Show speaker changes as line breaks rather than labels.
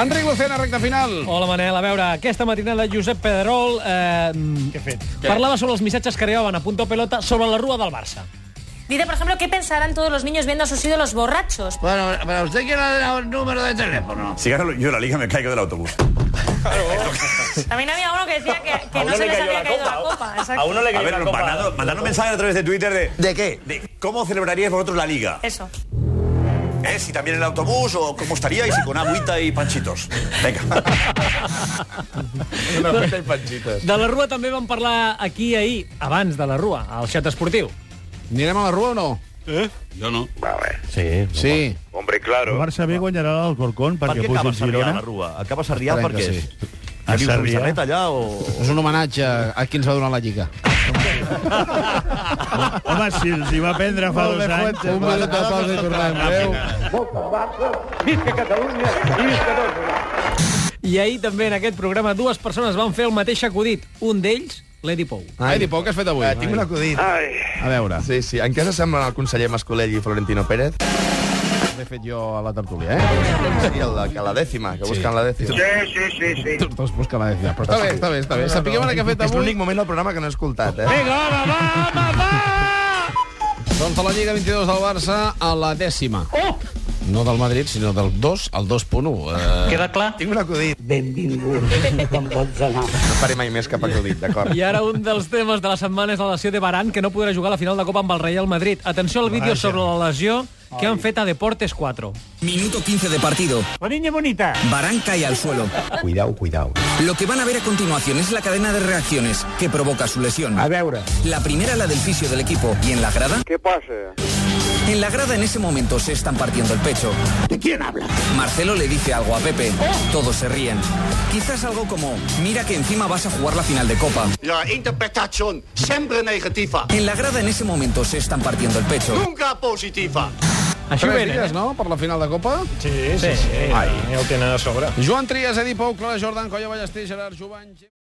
Enric Lucena, recta final.
Hola, Manel. A veure, aquesta matinada Josep Pedrol... Eh,
¿Qué fet?
parlava sobre els missatges que arribaven a Punto Pelota sobre la rua del Barça.
Dice, por ejemplo, ¿qué pensarán todos los niños viendo a sus ídolos borrachos?
Pues,
Bueno, pero usted quiere el número de teléfono.
Si gano yo la liga, me caigo del autobús.
También había uno que decía que, que
A
no
uno
se
le
les
cayó
había
la
caído
copa.
la copa.
A
exacto.
uno le
A
cayó
ver,
la
nos
copa.
mandando, mandando mensajes a través de Twitter de... ¿De qué? De cómo celebraríais vosotros la liga.
Eso.
¿Eh? Si también en el autobús o cómo estaríais y con agüita y panchitos. Venga.
Una feta y panchitas.
De la rua també vam parlar aquí ahir, abans de la rua, al xat esportiu.
Anirem a la rua o no?
Yo no.
Vale.
Sí.
Sí.
Hombre,
El
claro.
Barça B guanyarà l'Alcorcón perquè puja el Girona.
Rua? Acaba a Sarrià
Esperem que sí.
és?
A Sarrià.
allà o...
És un homenatge a qui ens va donar la lliga.
Home, si els hi va prendre fa dos anys...
Un minut de pausa i tornem. Adéu.
I ahir també en aquest programa dues persones van fer el mateix acudit. Un d'ells, l'Edi Pou.
Ai, Di Pou, què has fet avui?
Eh, tinc un acudit.
Ai,
A veure,
Sí, sí. En què s'assemblen el conseller Mascolell i Florentino Pérez?
l'he fet jo a la tertúlia, eh?
Sí, el de que la dècima, que busquen la dècima.
sí, sí, sí, sí.
Tots dos busquen la decisió. Però està bé, està bé, està bé. Sapiguem ara què ha fet
És
avui.
l'únic moment del programa que no he escoltat, eh?
Vinga, home, va, home, va! Doncs a la Lliga 22 del Barça, a la dècima. Oh! No del Madrid, sinó del 2 al 2.1. Eh,
Queda clar?
Tinc un acudit. No faré mai més cap acudit, d'acord?
I ara un dels temes de la setmana és la lesió de Baran, que no podrà jugar a la final de Copa amb el Real Madrid. Atenció al vídeo sobre la lesió que han fet a Deportes 4.
Minuto 15 de partido.
Niña bonita.
Barán cae al suelo.
Cuidao, cuidao.
Lo que van a ver a continuación es la cadena de reacciones que provoca su lesión.
veure.
La primera la del fisio del equipo. ¿Y en la grada?
¿Qué pasa?
En la grada en ese momento se están partiendo el pecho.
¿De quién habla? Oh.
Marcelo le dice algo a Pepe. Todos se ríen. Quizás algo como, mira que encima vas a jugar la final de Copa.
La interpretación siempre negativa,
En la grada en ese momento se están partiendo el pecho.
nunca positiva.
Així ho
Tres
venen,
dies,
eh?
no?, per la final de Copa.
Sí, sí. sí.
Joan Trias, Edi Pou, Clara Jordan, Colla Ballester, Gerard Jovany...